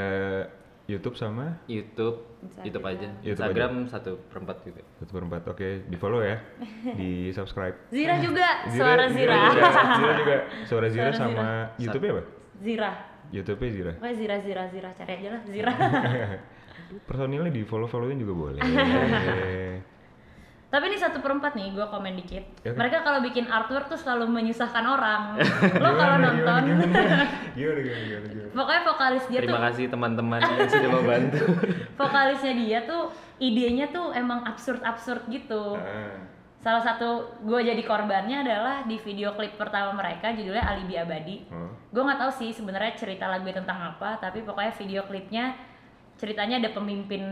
YouTube sama YouTube Instagram. YouTube aja YouTube Instagram satu perempat juga satu perempat oke di follow ya di subscribe Zira juga, suara Zira. juga, ya. Zira juga suara Zira Suara sama YouTube apa Zira. YouTube ya, Zira Pokoknya Zira Zira Zira cari aja lah Zira. personilnya di follow followin juga boleh Tapi ini satu perempat nih, gue komen dikit. Ya, Oke. Mereka kalau bikin artwork tuh selalu menyusahkan orang. Lo kalau nonton, gimana gimana gimana, gimana? pokoknya vokalis dia Iya tuh terima kasih teman-teman yang sudah membantu vokalisnya dia tuh idenya tuh emang absurd-absurd gitu. Ah, Salah satu gue jadi korbannya adalah di video klip pertama mereka judulnya Alibi Abadi. oh. Gue nggak tahu sih sebenarnya cerita lagu tentang apa, tapi pokoknya video klipnya ceritanya ada pemimpin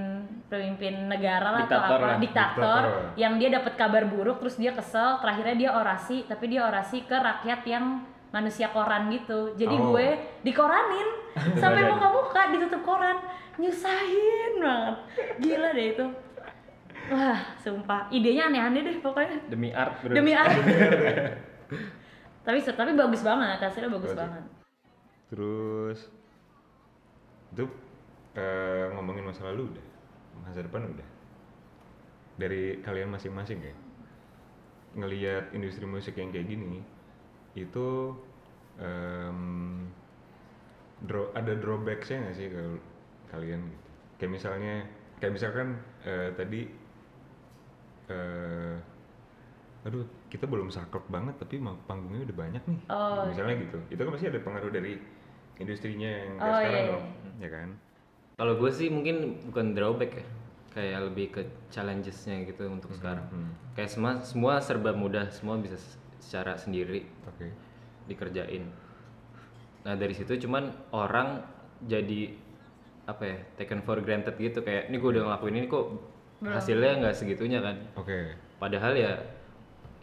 pemimpin negara lah Diktator atau apa lah. diktator Diktator. yang dia dapat kabar buruk terus dia kesel terakhirnya dia orasi tapi dia orasi ke rakyat yang manusia koran gitu jadi Oh. gue dikoranin sampai muka-muka ditutup koran nyusahin banget gila deh itu wah sumpah idenya aneh-aneh deh pokoknya demi art bro demi apa tapi tapi bagus banget hasilnya bagus Bagus. banget terus itu eh, ngomongin masa lalu udah masa depan udah dari kalian masing-masing ya ngelihat industri musik yang kayak gini itu em, draw- ada drawbacksnya nggak sih kalau kalian gitu kayak misalnya kayak misalkan eh, tadi eh, aduh kita belum saklek banget tapi ma- panggungnya udah banyak nih Oh, misalnya gitu itu kan pasti ada pengaruh dari industrinya yang kayak Oh, sekarang iya, iya. dong ya kan kalau gue sih mungkin bukan drawback ya kayak lebih ke challengesnya gitu untuk sekarang hmm. kayak semua semua serba mudah semua bisa s- secara sendiri oke dikerjain Nah dari situ cuman orang jadi apa ya taken for granted gitu kayak ini gue Hmm. udah ngelakuin ini kok hasilnya nggak segitunya kan. Oke. Padahal ya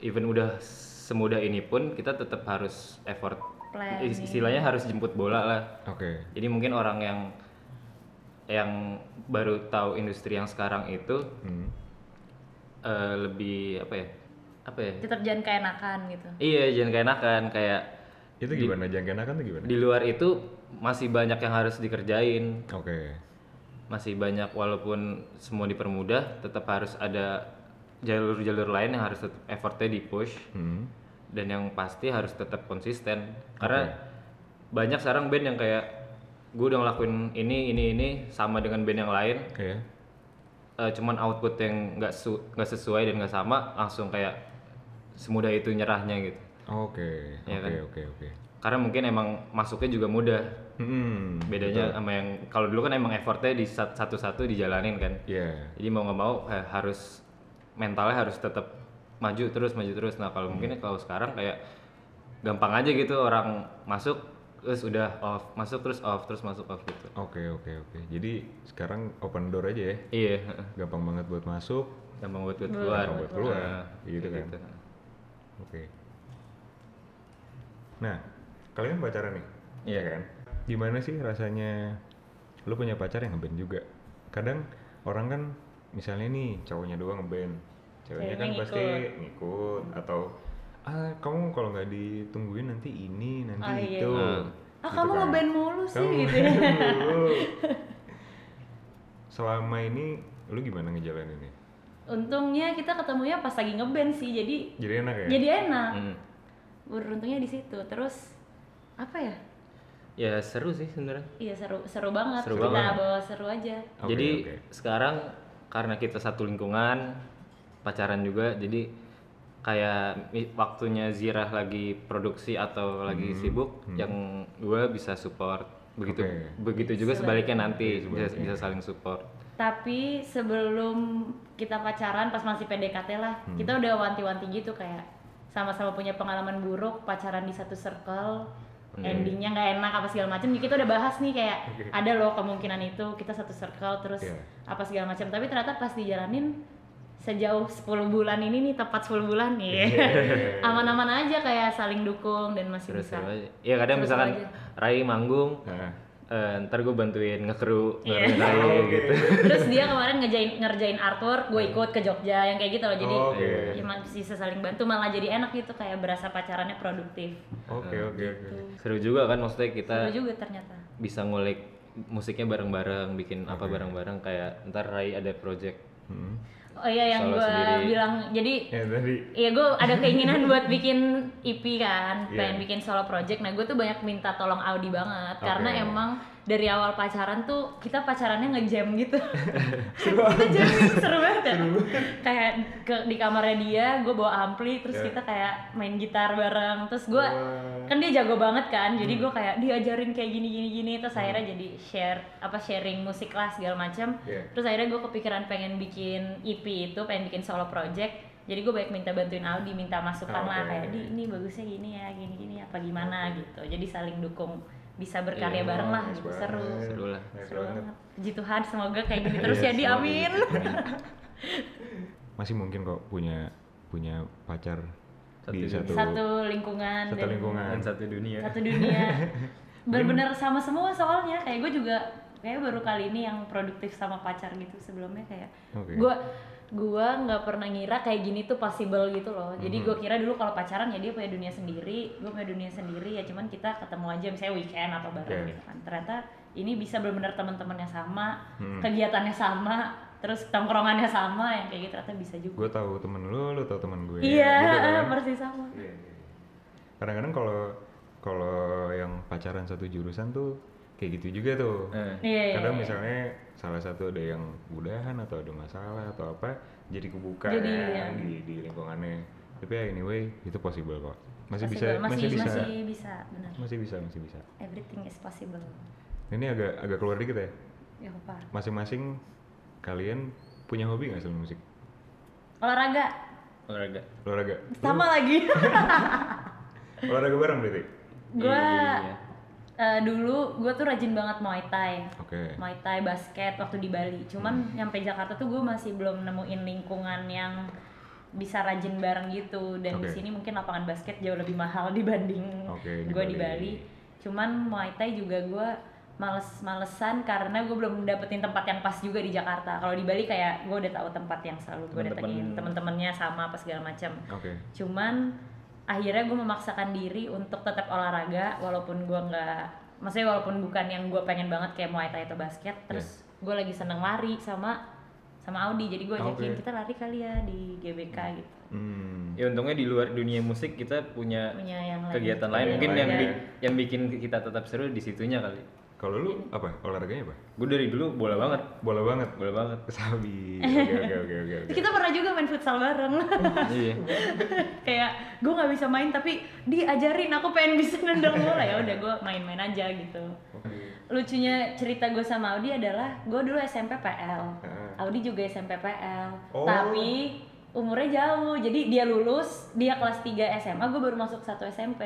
even udah semudah ini pun kita tetap harus effort. Iya. Planning. Istilahnya harus jemput bola lah. Oke. Jadi mungkin orang yang yang baru tahu industri yang sekarang itu Hmm. eh, lebih apa ya? Apa ya? Tetap jangan keenakan gitu. Iya, jangan keenakan kayak Itu gimana? Jangan enakan tuh gimana? di luar itu masih banyak yang harus dikerjain, Oke. masih banyak walaupun semua dipermudah, tetap harus ada jalur-jalur lain yang harus tetap effortnya di push Hmm. dan yang pasti harus tetap konsisten karena banyak sekarang band yang kayak gue udah ngelakuin ini ini ini sama dengan band yang lain Iya. eh, cuman output yang nggak su- nggak sesuai dan nggak sama langsung kayak semudah itu nyerahnya gitu Oke. Iya Oke. Oke. Oke. karena mungkin emang masuknya juga mudah Hmm. bedanya sama yang kalau dulu kan emang effortnya di sat- satu-satu dijalanin kan Iya. jadi mau nggak mau eh, harus mentalnya harus tetap maju terus maju terus nah kalau mungkin kalau sekarang kayak gampang aja gitu orang masuk terus udah off masuk terus off terus masuk off gitu Oke. Oke. Oke. Jadi sekarang open door aja ya. iya Gampang banget buat masuk. gampang buat buat keluar Iya, Gampang buat keluar, Nah, gitu kayak kan. Oke. Nah, kalian pacaran nih? Iya. kan? Gimana sih rasanya lu punya pacar yang ngeband juga? Kadang orang kan misalnya nih cowoknya doang ngeband. Ceweknya Ceweknya kan ngikut. pasti ngikut atau ah kamu kalau nggak ditungguin nanti ini nanti Oh, iya, itu. iya. Ah Gitu kamu kan. ngeband mulu sih Kamu gitu. ngeband mulu. Selama ini lu gimana ngejalaninnya? Untungnya kita ketemunya pas lagi ngeband sih, jadi Jadi enak ya? jadi enak. Hmm. Beruntungnya di situ. Terus apa ya? ya seru sih sebenarnya Iya seru seru banget. Seru kita banget. bawa seru aja. Oke, jadi oke. sekarang karena kita satu lingkungan pacaran juga jadi kayak mi- waktunya zirah lagi produksi atau lagi Hmm, sibuk yang gue bisa support begitu Oke. begitu juga sebaliknya nanti Oke, bisa, sebaliknya. bisa saling support Tapi sebelum kita pacaran pas masih PDKT lah, kita udah wanti-wanti gitu kayak sama-sama punya pengalaman buruk pacaran di satu circle, endingnya nggak enak apa segala macam. Jadi Kita udah bahas nih kayak ada loh kemungkinan itu kita satu circle terus Iya. apa segala macam. Tapi ternyata pas dijalanin sejauh 10 bulan ini nih tepat 10 bulan nih. Iya. Aman-aman aja kayak saling dukung dan masih terus bisa. aja ya kadang Seru-seru misalkan aja. Rai manggung Nah. eh, ntar gue bantuin ngekru Iya. bareng Rai Oke. gitu Terus dia kemarin ngerjain ngerjain artwork, gue ikut ke Jogja yang kayak gitu loh. Jadi Oh, Oke. ya masih bisa saling bantu malah jadi enak gitu kayak berasa pacarannya produktif. Oke oke oke. Gitu. seru juga kan Nah. maksudnya kita Seru juga ternyata. bisa ngulik musiknya bareng-bareng bikin apa bareng-bareng kayak ntar Rai ada project Hmm. Oh iya yang Solo gue sendiri. bilang jadi Ya tadi. Iya gue ada keinginan buat bikin EP kan, Iya. pengen bikin solo project. Nah gue tuh banyak minta tolong Audi banget Oke. karena emang dari awal pacaran tuh kita pacarannya ngejam gitu. kita jam seru banget. ya. Kayak ke di kamarnya dia, gue bawa ampli, terus Iya. Oh, kita kayak main gitar bareng. Terus gue kan dia jago banget kan, jadi Hmm. gue kayak diajarin kayak gini gini gini. Terus akhirnya jadi share apa sharing musik lah segala macam. Iya. Terus akhirnya gue kepikiran pengen bikin EP itu, pengen bikin solo project. Jadi gue banyak minta bantuin Audi, minta masukan lah Oke. kayak di ini bagusnya gini ya, gini gini apa gimana gitu. Jadi saling dukung, bisa berkarya Iya, bareng lah nice gitu banget. seru. Seru lah. Nice Seru banget. Iya, banget. Puji Tuhan semoga kayak gini terus ya di semoga amin. gitu. Amin. Masih mungkin kok punya punya pacar Satu di dunia. satu satu lingkungan satu dan lingkungan. dan satu dunia satu dunia. Bener-bener sama semua soalnya kayak gue juga kayak baru kali ini yang produktif sama pacar gitu sebelumnya kayak Oke. gue gua nggak pernah ngira kayak gini tuh possible gitu loh jadi Mhm. gue kira dulu kalau pacaran ya dia punya dunia sendiri gue punya dunia sendiri ya cuman kita ketemu aja misalnya weekend apa bareng Oke. gitu kan ternyata ini bisa benar-benar teman-temannya sama Hmm. kegiatannya sama terus tongkrongannya sama yang kayak gitu ternyata bisa juga Gue tahu temen lu, lu tahu temen gue. iya Gitu kan? persis sama Iya, iya. Kadang-kadang kalau kalau yang pacaran satu jurusan tuh kayak gitu juga tuh. Eh, iya iya, Kadang iya. misalnya salah satu ada yang udahan atau ada masalah atau apa jadi kebuka Jadi, kan iya. di, di lingkungannya. Tapi ya anyway itu possible kok. Masih, Masih bisa, be- masih, masih, bisa, masih bisa benar masih bisa, masih bisa. everything is possible Ini agak agak keluar dikit ya. ya apa masing-masing kalian punya hobi nggak selain musik olahraga olahraga olahraga Oh. sama lagi olahraga bareng berarti gue Iya. eh, dulu gue tuh rajin banget Muay Thai. Oke. Muay Thai, basket waktu di Bali. Cuman nyampe Jakarta tuh gue masih belum nemuin lingkungan yang bisa rajin bareng gitu. Dan di Oke. sini mungkin lapangan basket jauh lebih mahal dibanding Oke, di gue di Bali. Bali. Cuman Muay Thai juga gue males-malesan karena gue belum dapetin tempat yang pas juga di Jakarta. Kalau di Bali kayak gue udah tahu tempat yang selalu gue Temen-temen. datengin temen-temennya sama apa segala macam Oke. cuman akhirnya gue memaksakan diri untuk tetap olahraga walaupun gue nggak maksudnya walaupun bukan yang gue pengen banget kayak muay thai atau basket terus gue lagi seneng lari sama sama Audi jadi gue ajakin Oke. kita lari kali ya di GBK gitu Hmm. Ya untungnya di luar dunia musik kita punya punya yang lain. kegiatan Ada lain yang mungkin lain yang ya. bi- yang bikin kita tetap seru di situnya kali. Kalau lu apa? Olahraganya apa? Gue dari dulu bola banget, Bola banget. bola banget. Sabi. Oke oke oke oke oke. kita pernah juga main futsal bareng iya. kayak gue nggak bisa main tapi diajarin aku pengen bisa nendang bola ya udah gue main-main aja gitu lucunya cerita gue sama Audi adalah gue dulu SMP PL Ah. Audi juga SMP PL Oh. tapi umurnya jauh jadi dia lulus dia kelas 3 SMA gue baru masuk 1 SMP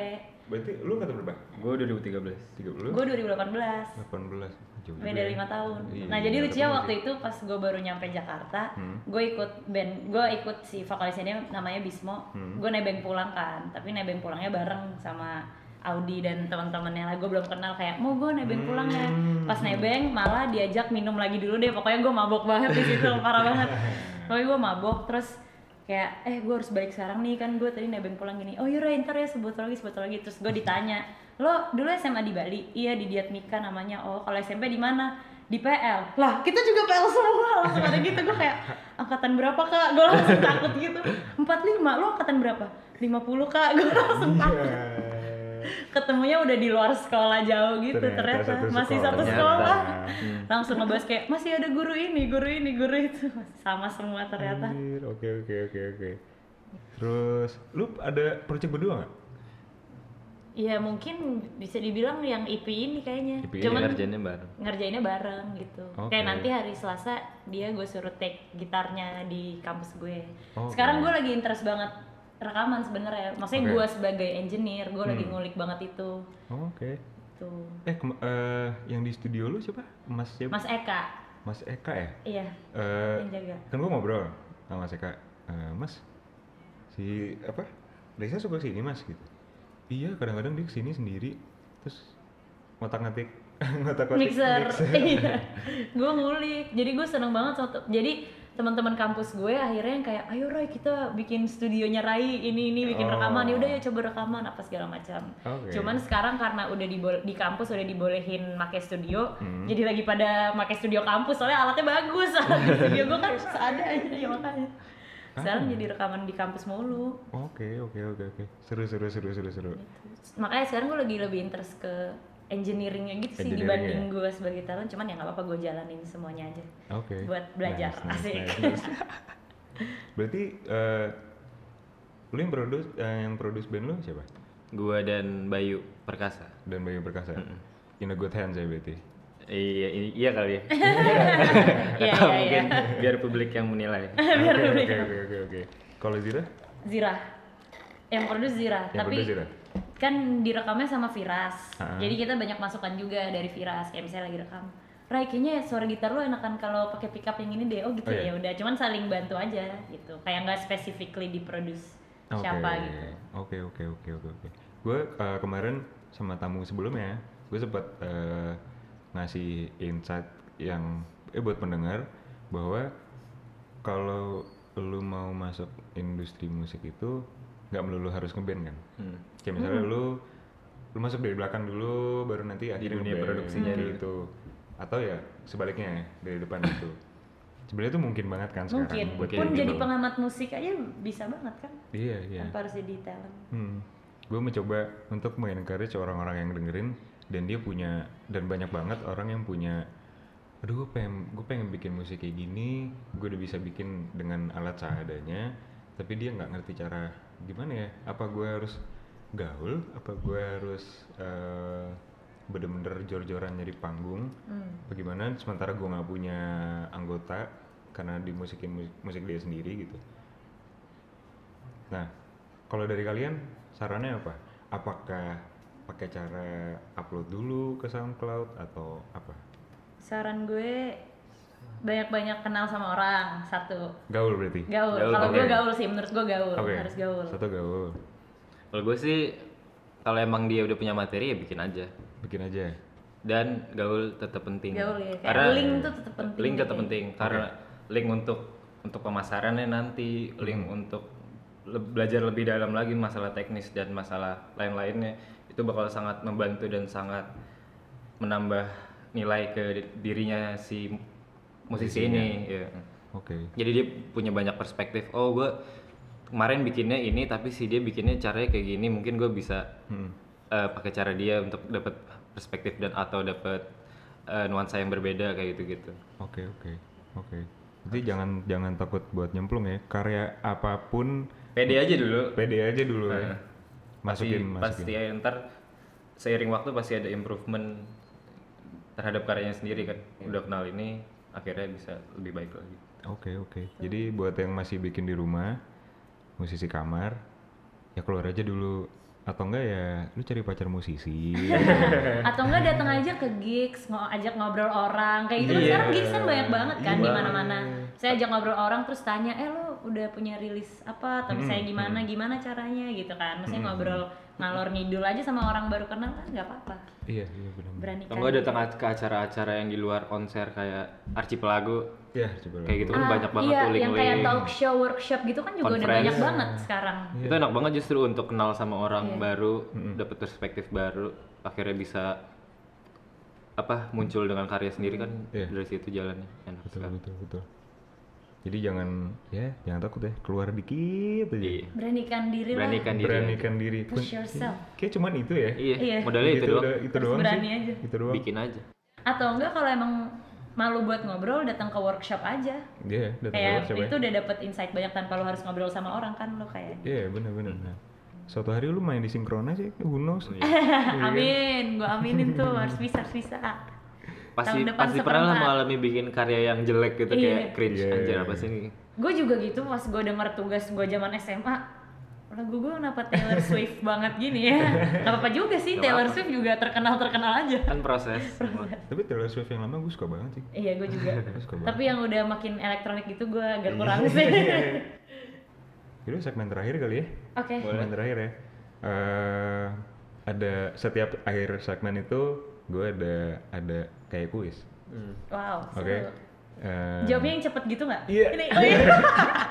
Berarti lu kata berapa? Gue 2013. 30? gue 2018 18. Jauh beda juga ya. lima tahun. Iya, nah jadi nggak lucunya ketemu waktu sih. itu pas gue baru nyampe Jakarta, Hmm. gue ikut band, gue ikut si vokalisnya dia namanya Bismo, Hmm. gue nebeng pulang kan, tapi nebeng pulangnya bareng sama Audi dan teman-temannya lah, gue belum kenal kayak mau gue nebeng pulang ya, Hmm. pas nebeng malah diajak minum lagi dulu deh, pokoknya gue mabok banget di situ parah banget, pokoknya gue mabok terus kayak eh gue harus balik sekarang nih kan gue tadi nebeng pulang gini oh yaudah ntar ya sebut lagi sebut lagi terus gue ditanya lo dulu SMA di Bali iya di Diatmika namanya oh kalau SMP di mana di PL lah kita juga PL semua langsung ada gitu gue kayak angkatan berapa kak gue langsung takut gitu 45 lo angkatan berapa 50 kak gue langsung takut Iya. ketemunya udah di luar sekolah jauh gitu Ternyata ternyata, satu masih sekolah. satu Ternyata. Hmm. sekolah langsung ngebahas kayak masih ada guru ini guru ini guru itu sama semua ternyata Anjir, Oke oke oke oke. Terus lu ada project berdua nggak? Iya mungkin bisa dibilang yang IP ini kayaknya. IP ini Cuman Kerjanya baru. ngerjainnya bareng gitu. Oke. Kayak nanti hari Selasa dia gue suruh take gitarnya di kampus gue. Oh, Oke. Sekarang gue lagi interest banget rekaman sebenarnya. Maksudnya Oke. Hmm. gue sebagai engineer gue lagi ngulik banget itu. Oh, oke. Tuh. Eh, kema- eh, yang di studio lu siapa? Mas siapa? Mas Eka, Mas Eka ya? iya Eh, yang jaga. kan gua ngobrol sama Mas Eka. Eh, mas, si apa? Reza suka sini mas gitu. Iya, kadang-kadang dia kesini sendiri. Terus ngotak-ngatik, ngotak-ngatik mixer, iya gue ngulik jadi gue seneng banget sama te- jadi teman-teman kampus gue akhirnya yang kayak ayo Roy kita bikin studionya Rai ini ini bikin Oh. rekaman ya udah ya coba rekaman apa segala macam Oke. cuman sekarang karena udah di di kampus udah dibolehin make studio jadi lagi pada make studio kampus soalnya alatnya bagus alat di studio gue kan ada aja ya makanya sekarang jadi rekaman di kampus mulu Oke, oke, oke, oke. Seru, seru, seru, seru, seru. Gitu. makanya sekarang gue lagi lebih interest ke engineeringnya gitu sih Engineering dibanding ya? gue sebagai talent cuman ya nggak apa-apa gue jalanin semuanya aja Oke. Buat belajar, asik. Berarti eh lu yang produce eh, yang produce band lu siapa? Gue dan Bayu Perkasa. Dan Bayu Perkasa. In a good hands ya berarti. Iya, iya, iya kali ya. iya Atau iya iya mungkin biar publik yang menilai. biar Oke, lebih Oke, oke, oke, oke. Kalau Zira? Zira yang produce Zira Yang tapi produce Zira? kan direkamnya sama Firas Ah. jadi kita banyak masukan juga dari Firas kayak misalnya lagi rekam Rai kayaknya suara gitar lu enakan kalau pakai pickup yang ini deh oh gitu Oh, iya. ya udah cuman saling bantu aja gitu kayak nggak specifically diproduce Oke. siapa gitu Oke, oke, oke, oke, oke. Gue kemarin sama tamu sebelumnya, gue sempat eh, ngasih insight yang eh buat pendengar bahwa kalau lu mau masuk industri musik itu nggak melulu harus ngeband kan. Hmm. Kayak misalnya lu lu masuk dari belakang dulu baru nanti akhirnya dunia ngeband, produksinya Iya. kayak dulu. gitu. Atau ya sebaliknya dari depan gitu. Sebenarnya tuh mungkin banget kan sekarang mungkin buat pun kayak jadi gitu. pengamat musik aja bisa banget kan Iya, iya. tanpa harus jadi talent Hmm. Gue mencoba untuk mengencourage orang-orang yang dengerin dan dia punya dan banyak banget orang yang punya aduh gue pengen gue pengen bikin musik kayak gini gue udah bisa bikin dengan alat seadanya tapi dia nggak ngerti cara gimana ya apa gue harus gaul apa gue harus eh, bener-bener jor-joran nyari panggung bagaimana sementara gue nggak punya anggota karena dimusikin musik, musik dia sendiri gitu Nah, kalau dari kalian sarannya apa? Apakah pakai cara upload dulu ke SoundCloud atau apa? Saran gue banyak-banyak kenal sama orang satu. Gaul berarti. Gaul. Gaul, Kalau gue oke. gaul sih, menurut gue gaul, Oke. harus gaul. Satu gaul. Kalau gue sih kalau emang dia udah punya materi ya bikin aja. Bikin aja. Dan gaul tetap penting. Gaul ya. Kayak Karena link tuh tetap penting. link gitu tetap ya. penting karena link untuk untuk pemasarannya nanti, Hmm. link untuk le- belajar lebih dalam lagi masalah teknis dan masalah lain-lainnya itu bakal sangat membantu dan sangat menambah nilai ke di- dirinya si musisi ini. ya. Oke. jadi dia punya banyak perspektif oh gue kemarin bikinnya ini tapi si dia bikinnya caranya kayak gini mungkin gue bisa Hmm. eh, pakai cara dia untuk dapat perspektif dan atau dapat eh, nuansa yang berbeda kayak gitu gitu Oke oke oke. Jadi jangan jangan takut buat nyemplung ya. Karya apapun pede aja dulu pede aja dulu ya. Masukin pasti masukin. pasti ya, ntar seiring waktu pasti ada improvement terhadap karyanya sendiri kan udah kenal ini akhirnya bisa lebih baik lagi Oke oke. Jadi buat yang masih bikin di rumah, musisi kamar, ya keluar aja dulu. Atau enggak ya, lu cari pacar musisi. Atau enggak datang aja ke gigs, mau ajak ngobrol orang kayak gitu. kan Iya. Sekarang gigs kan banyak banget kan Iya. di mana-mana. Saya ajak ngobrol orang terus tanya, "Eh lu udah punya rilis apa?" Hmm, atau misalnya gimana, gimana caranya gitu kan. Maksudnya ngobrol ngalor ngidul aja sama orang baru kenal kan nggak apa-apa. iya iya benar. Berani Atau kan. nggak datang ke acara-acara yang di luar konser kayak Archipelago Ya coba. lah. kayak gitu kan Ah, banyak banget iya, tuh yang kayak link-link. talk show, workshop gitu kan juga udah Conference. banyak banget sekarang. itu enak banget justru untuk kenal sama Iya. orang baru dapat perspektif baru akhirnya bisa apa muncul dengan karya sendiri kan Iya. dari situ jalannya enak Betul sekali betul betul. Jadi jangan ya jangan takut ya keluar dikit aja. Iya. Beranikan diri lah. beranikan diri aja. Beranikan diri. Push yourself. Kayak cuman itu ya. iya Iya. modalnya itu Gitu doang udah- itu Terus doang berani sih. aja. Itu doang. bikin aja Atau enggak kalau emang malu buat ngobrol datang ke workshop aja. Iya, datang ke Kayak workshop ya. itu udah dapet insight banyak tanpa lo harus ngobrol sama orang kan lo kayak. Iya, benar-benar. Nah, suatu hari lu main di sinkrona sih, who knows. Iya. "Ya, Amin, gua aminin tuh harus bisa harus bisa. pasti Tahun depan pasti pernah lah seperempat. mengalami bikin karya yang jelek gitu Iya. kayak cringe Iya. anjir apa sih ini Gue juga gitu pas gue denger tugas gue zaman SMA lagu gue kenapa Taylor Swift banget gini ya Gak apa-apa juga sih, Gak Taylor apa-apa. Swift juga terkenal-terkenal aja kan proses Tapi Taylor Swift yang lama gue suka banget sih. Iya gue juga Gue suka banget. Iya. Tapi yang udah makin elektronik gitu gue agak kurang sih Jadi segmen terakhir kali ya. Oke, Segmen terakhir ya. Eh, ada setiap akhir segmen itu gue ada ada kayak kuis. wow Oke. seru. Eh, Jawabnya yang cepet gitu nggak? Iya. Ini, oh iya.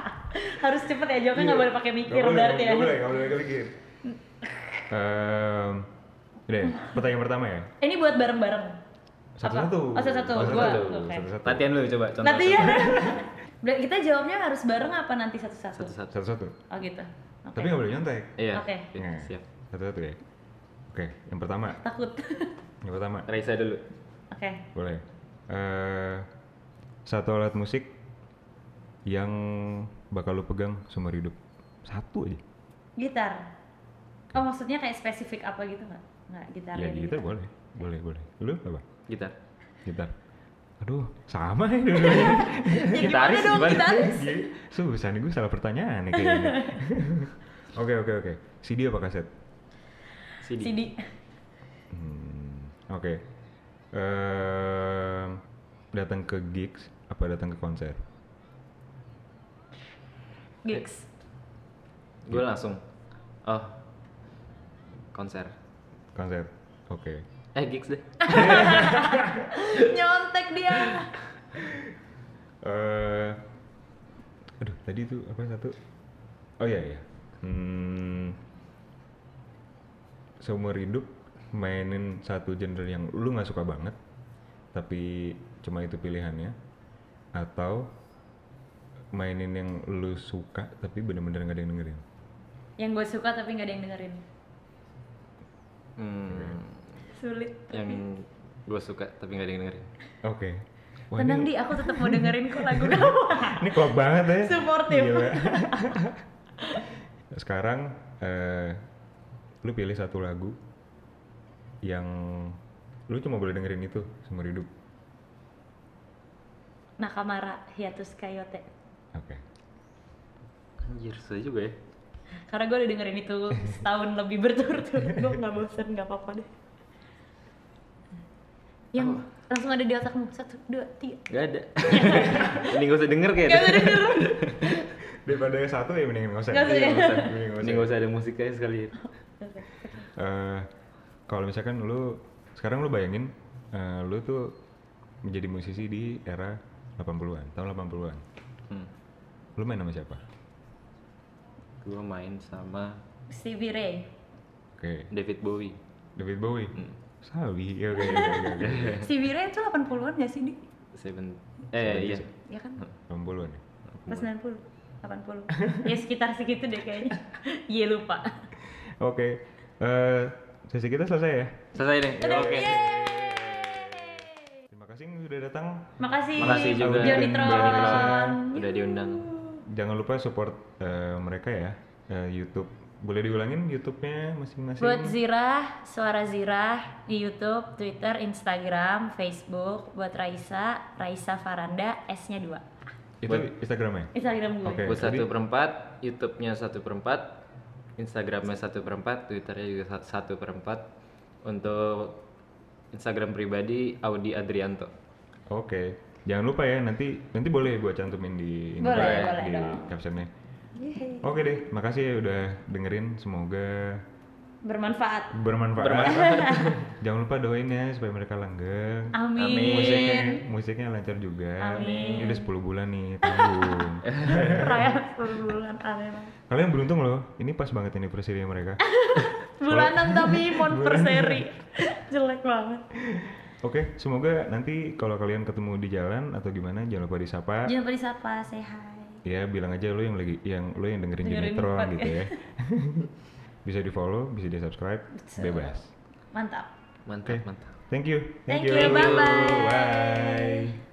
Harus cepet ya jawabnya nggak boleh pakai mikir Nggak boleh, berarti ya. nggak boleh, nggak boleh kayak gini. Em, deh, pertanyaan pertama ya. Ini buat bareng-bareng. Satu-satu. Apa? Oh satu-satu. Oh, Gua. satu-satu. Oke. Satu-satu. latihan dulu coba contoh Nanti ya. Ber- Kita jawabnya harus bareng apa nanti satu-satu? satu-satu Satu-satu. Oh gitu. Oke. Tapi nggak boleh nyontek. iya Oke. iya, Nah, siap Satu-satu ya. Oke, yang pertama. Takut. Yang pertama. Raisa dulu Oke. Boleh. Eh, satu alat musik yang bakal lu pegang seumur hidup. Satu aja. Gitar. Oh maksudnya kayak spesifik apa gitu nggak? Nggak gitu. gitar. Ya jadi gitar boleh. Boleh, boleh. Lu apa? gitar Gitar. Aduh, sama ya dulu. Ya, Gitaris gimana dong gimana? gitaris? Susah nih gue salah pertanyaan nih kayaknya. Oke, oke, oke. CD apa kaset? CD CD. Hmm, Oke. Ehm, datang ke gigs apa datang ke konser? Gigs. gue langsung oh konser Konser. Oke. eh gigs deh Ah. Nyontek dia. Eh, aduh, tadi tuh apa satu? Oh iya iya. Hmm, seumur hidup mainin satu genre yang lu nggak suka banget, tapi cuma itu pilihannya, atau mainin yang lu suka tapi bener-bener nggak ada yang dengerin. Yang gue suka tapi nggak ada yang dengerin. Hmm, Sulit. yang gue suka tapi nggak ada yang dengerin. Oke. Wah, Tenang ini- di, aku tetap mau dengerin kok lagu kamu. Ini klop banget ya. Supportive. Gila. Nah, Sekarang eh, lu pilih satu lagu yang lu cuma boleh dengerin itu seumur hidup. Nakamara hiatus kayote. Oke. Anjir, susah juga ya. Karena gue udah dengerin itu setahun lebih berturut-turut, gue nggak bosen, nggak apa-apa deh. Yang langsung ada di otakmu satu, dua, tiga. Gak ada. Ini gak usah denger Gak kayaknya. usah denger. daripada yang satu ya mendingan nggak usah Nggak usah ya. Mendingan nggak usah, mendingan nggak Ini usah. gak usah ada musiknya sekali. Eh, kalau misalkan lu sekarang lu bayangin eh, lu tuh menjadi musisi di era 80-an, tahun 80-an. Hmm. Lu main sama siapa? Gue main sama Stevie Ray. Oke, David Bowie. David Bowie. Hmm. Sawi. Ya, Oke, oke, oke, oke. Stevie Ray itu 80-an gak sih, Di? Seven. Eh iya. Ya kan? 80-an ya. Pas 90, 80. ya sekitar segitu deh kayaknya. Iya lupa. Oke. eh, sesi kita selesai ya. Selesai deh. Oke. Terima kasih yang sudah datang. Makasih. Makasih juga. Johnny Tron. Johnny Tron. Udah diundang. Jangan lupa support eh, mereka ya. Eh, YouTube. Boleh diulangin YouTube-nya masing-masing. Buat Zirah, Suara Zirah di YouTube, Twitter, Instagram, Facebook. Buat Raisa, Raisa Faranda, S-nya 2. Itu Instagramnya. Instagram gue. Oke. Buat jadi- satu perempat, YouTube-nya satu perempat, Instagramnya satu perempat, Twitternya juga sa- satu perempat. Untuk Instagram pribadi Audi Adrianto. Oke, jangan lupa ya nanti nanti boleh gue cantumin di ini Boleh, gue, boleh di dong. captionnya. Oke deh, makasih ya udah dengerin. Semoga Bermanfaat. bermanfaat. jangan lupa doain ya supaya mereka langgeng. Amin. Musiknya, musiknya lancar juga. Ini udah 10 bulan nih tanggung. Raya bulan aneh banget. Kalian beruntung loh, ini pas banget anniversary mereka. Bulanan tapi monversary. Jelek banget. Oke, semoga nanti kalau kalian ketemu di jalan atau gimana jangan lupa disapa. Jangan lupa disapa, say hi. ya bilang aja lo yang lagi yang lo yang dengerin, Dengerin Junitron podcast. gitu ya bisa di follow bisa di subscribe bebas Mantap. Mantap, mantap. thank you Thank you, bye-bye. bye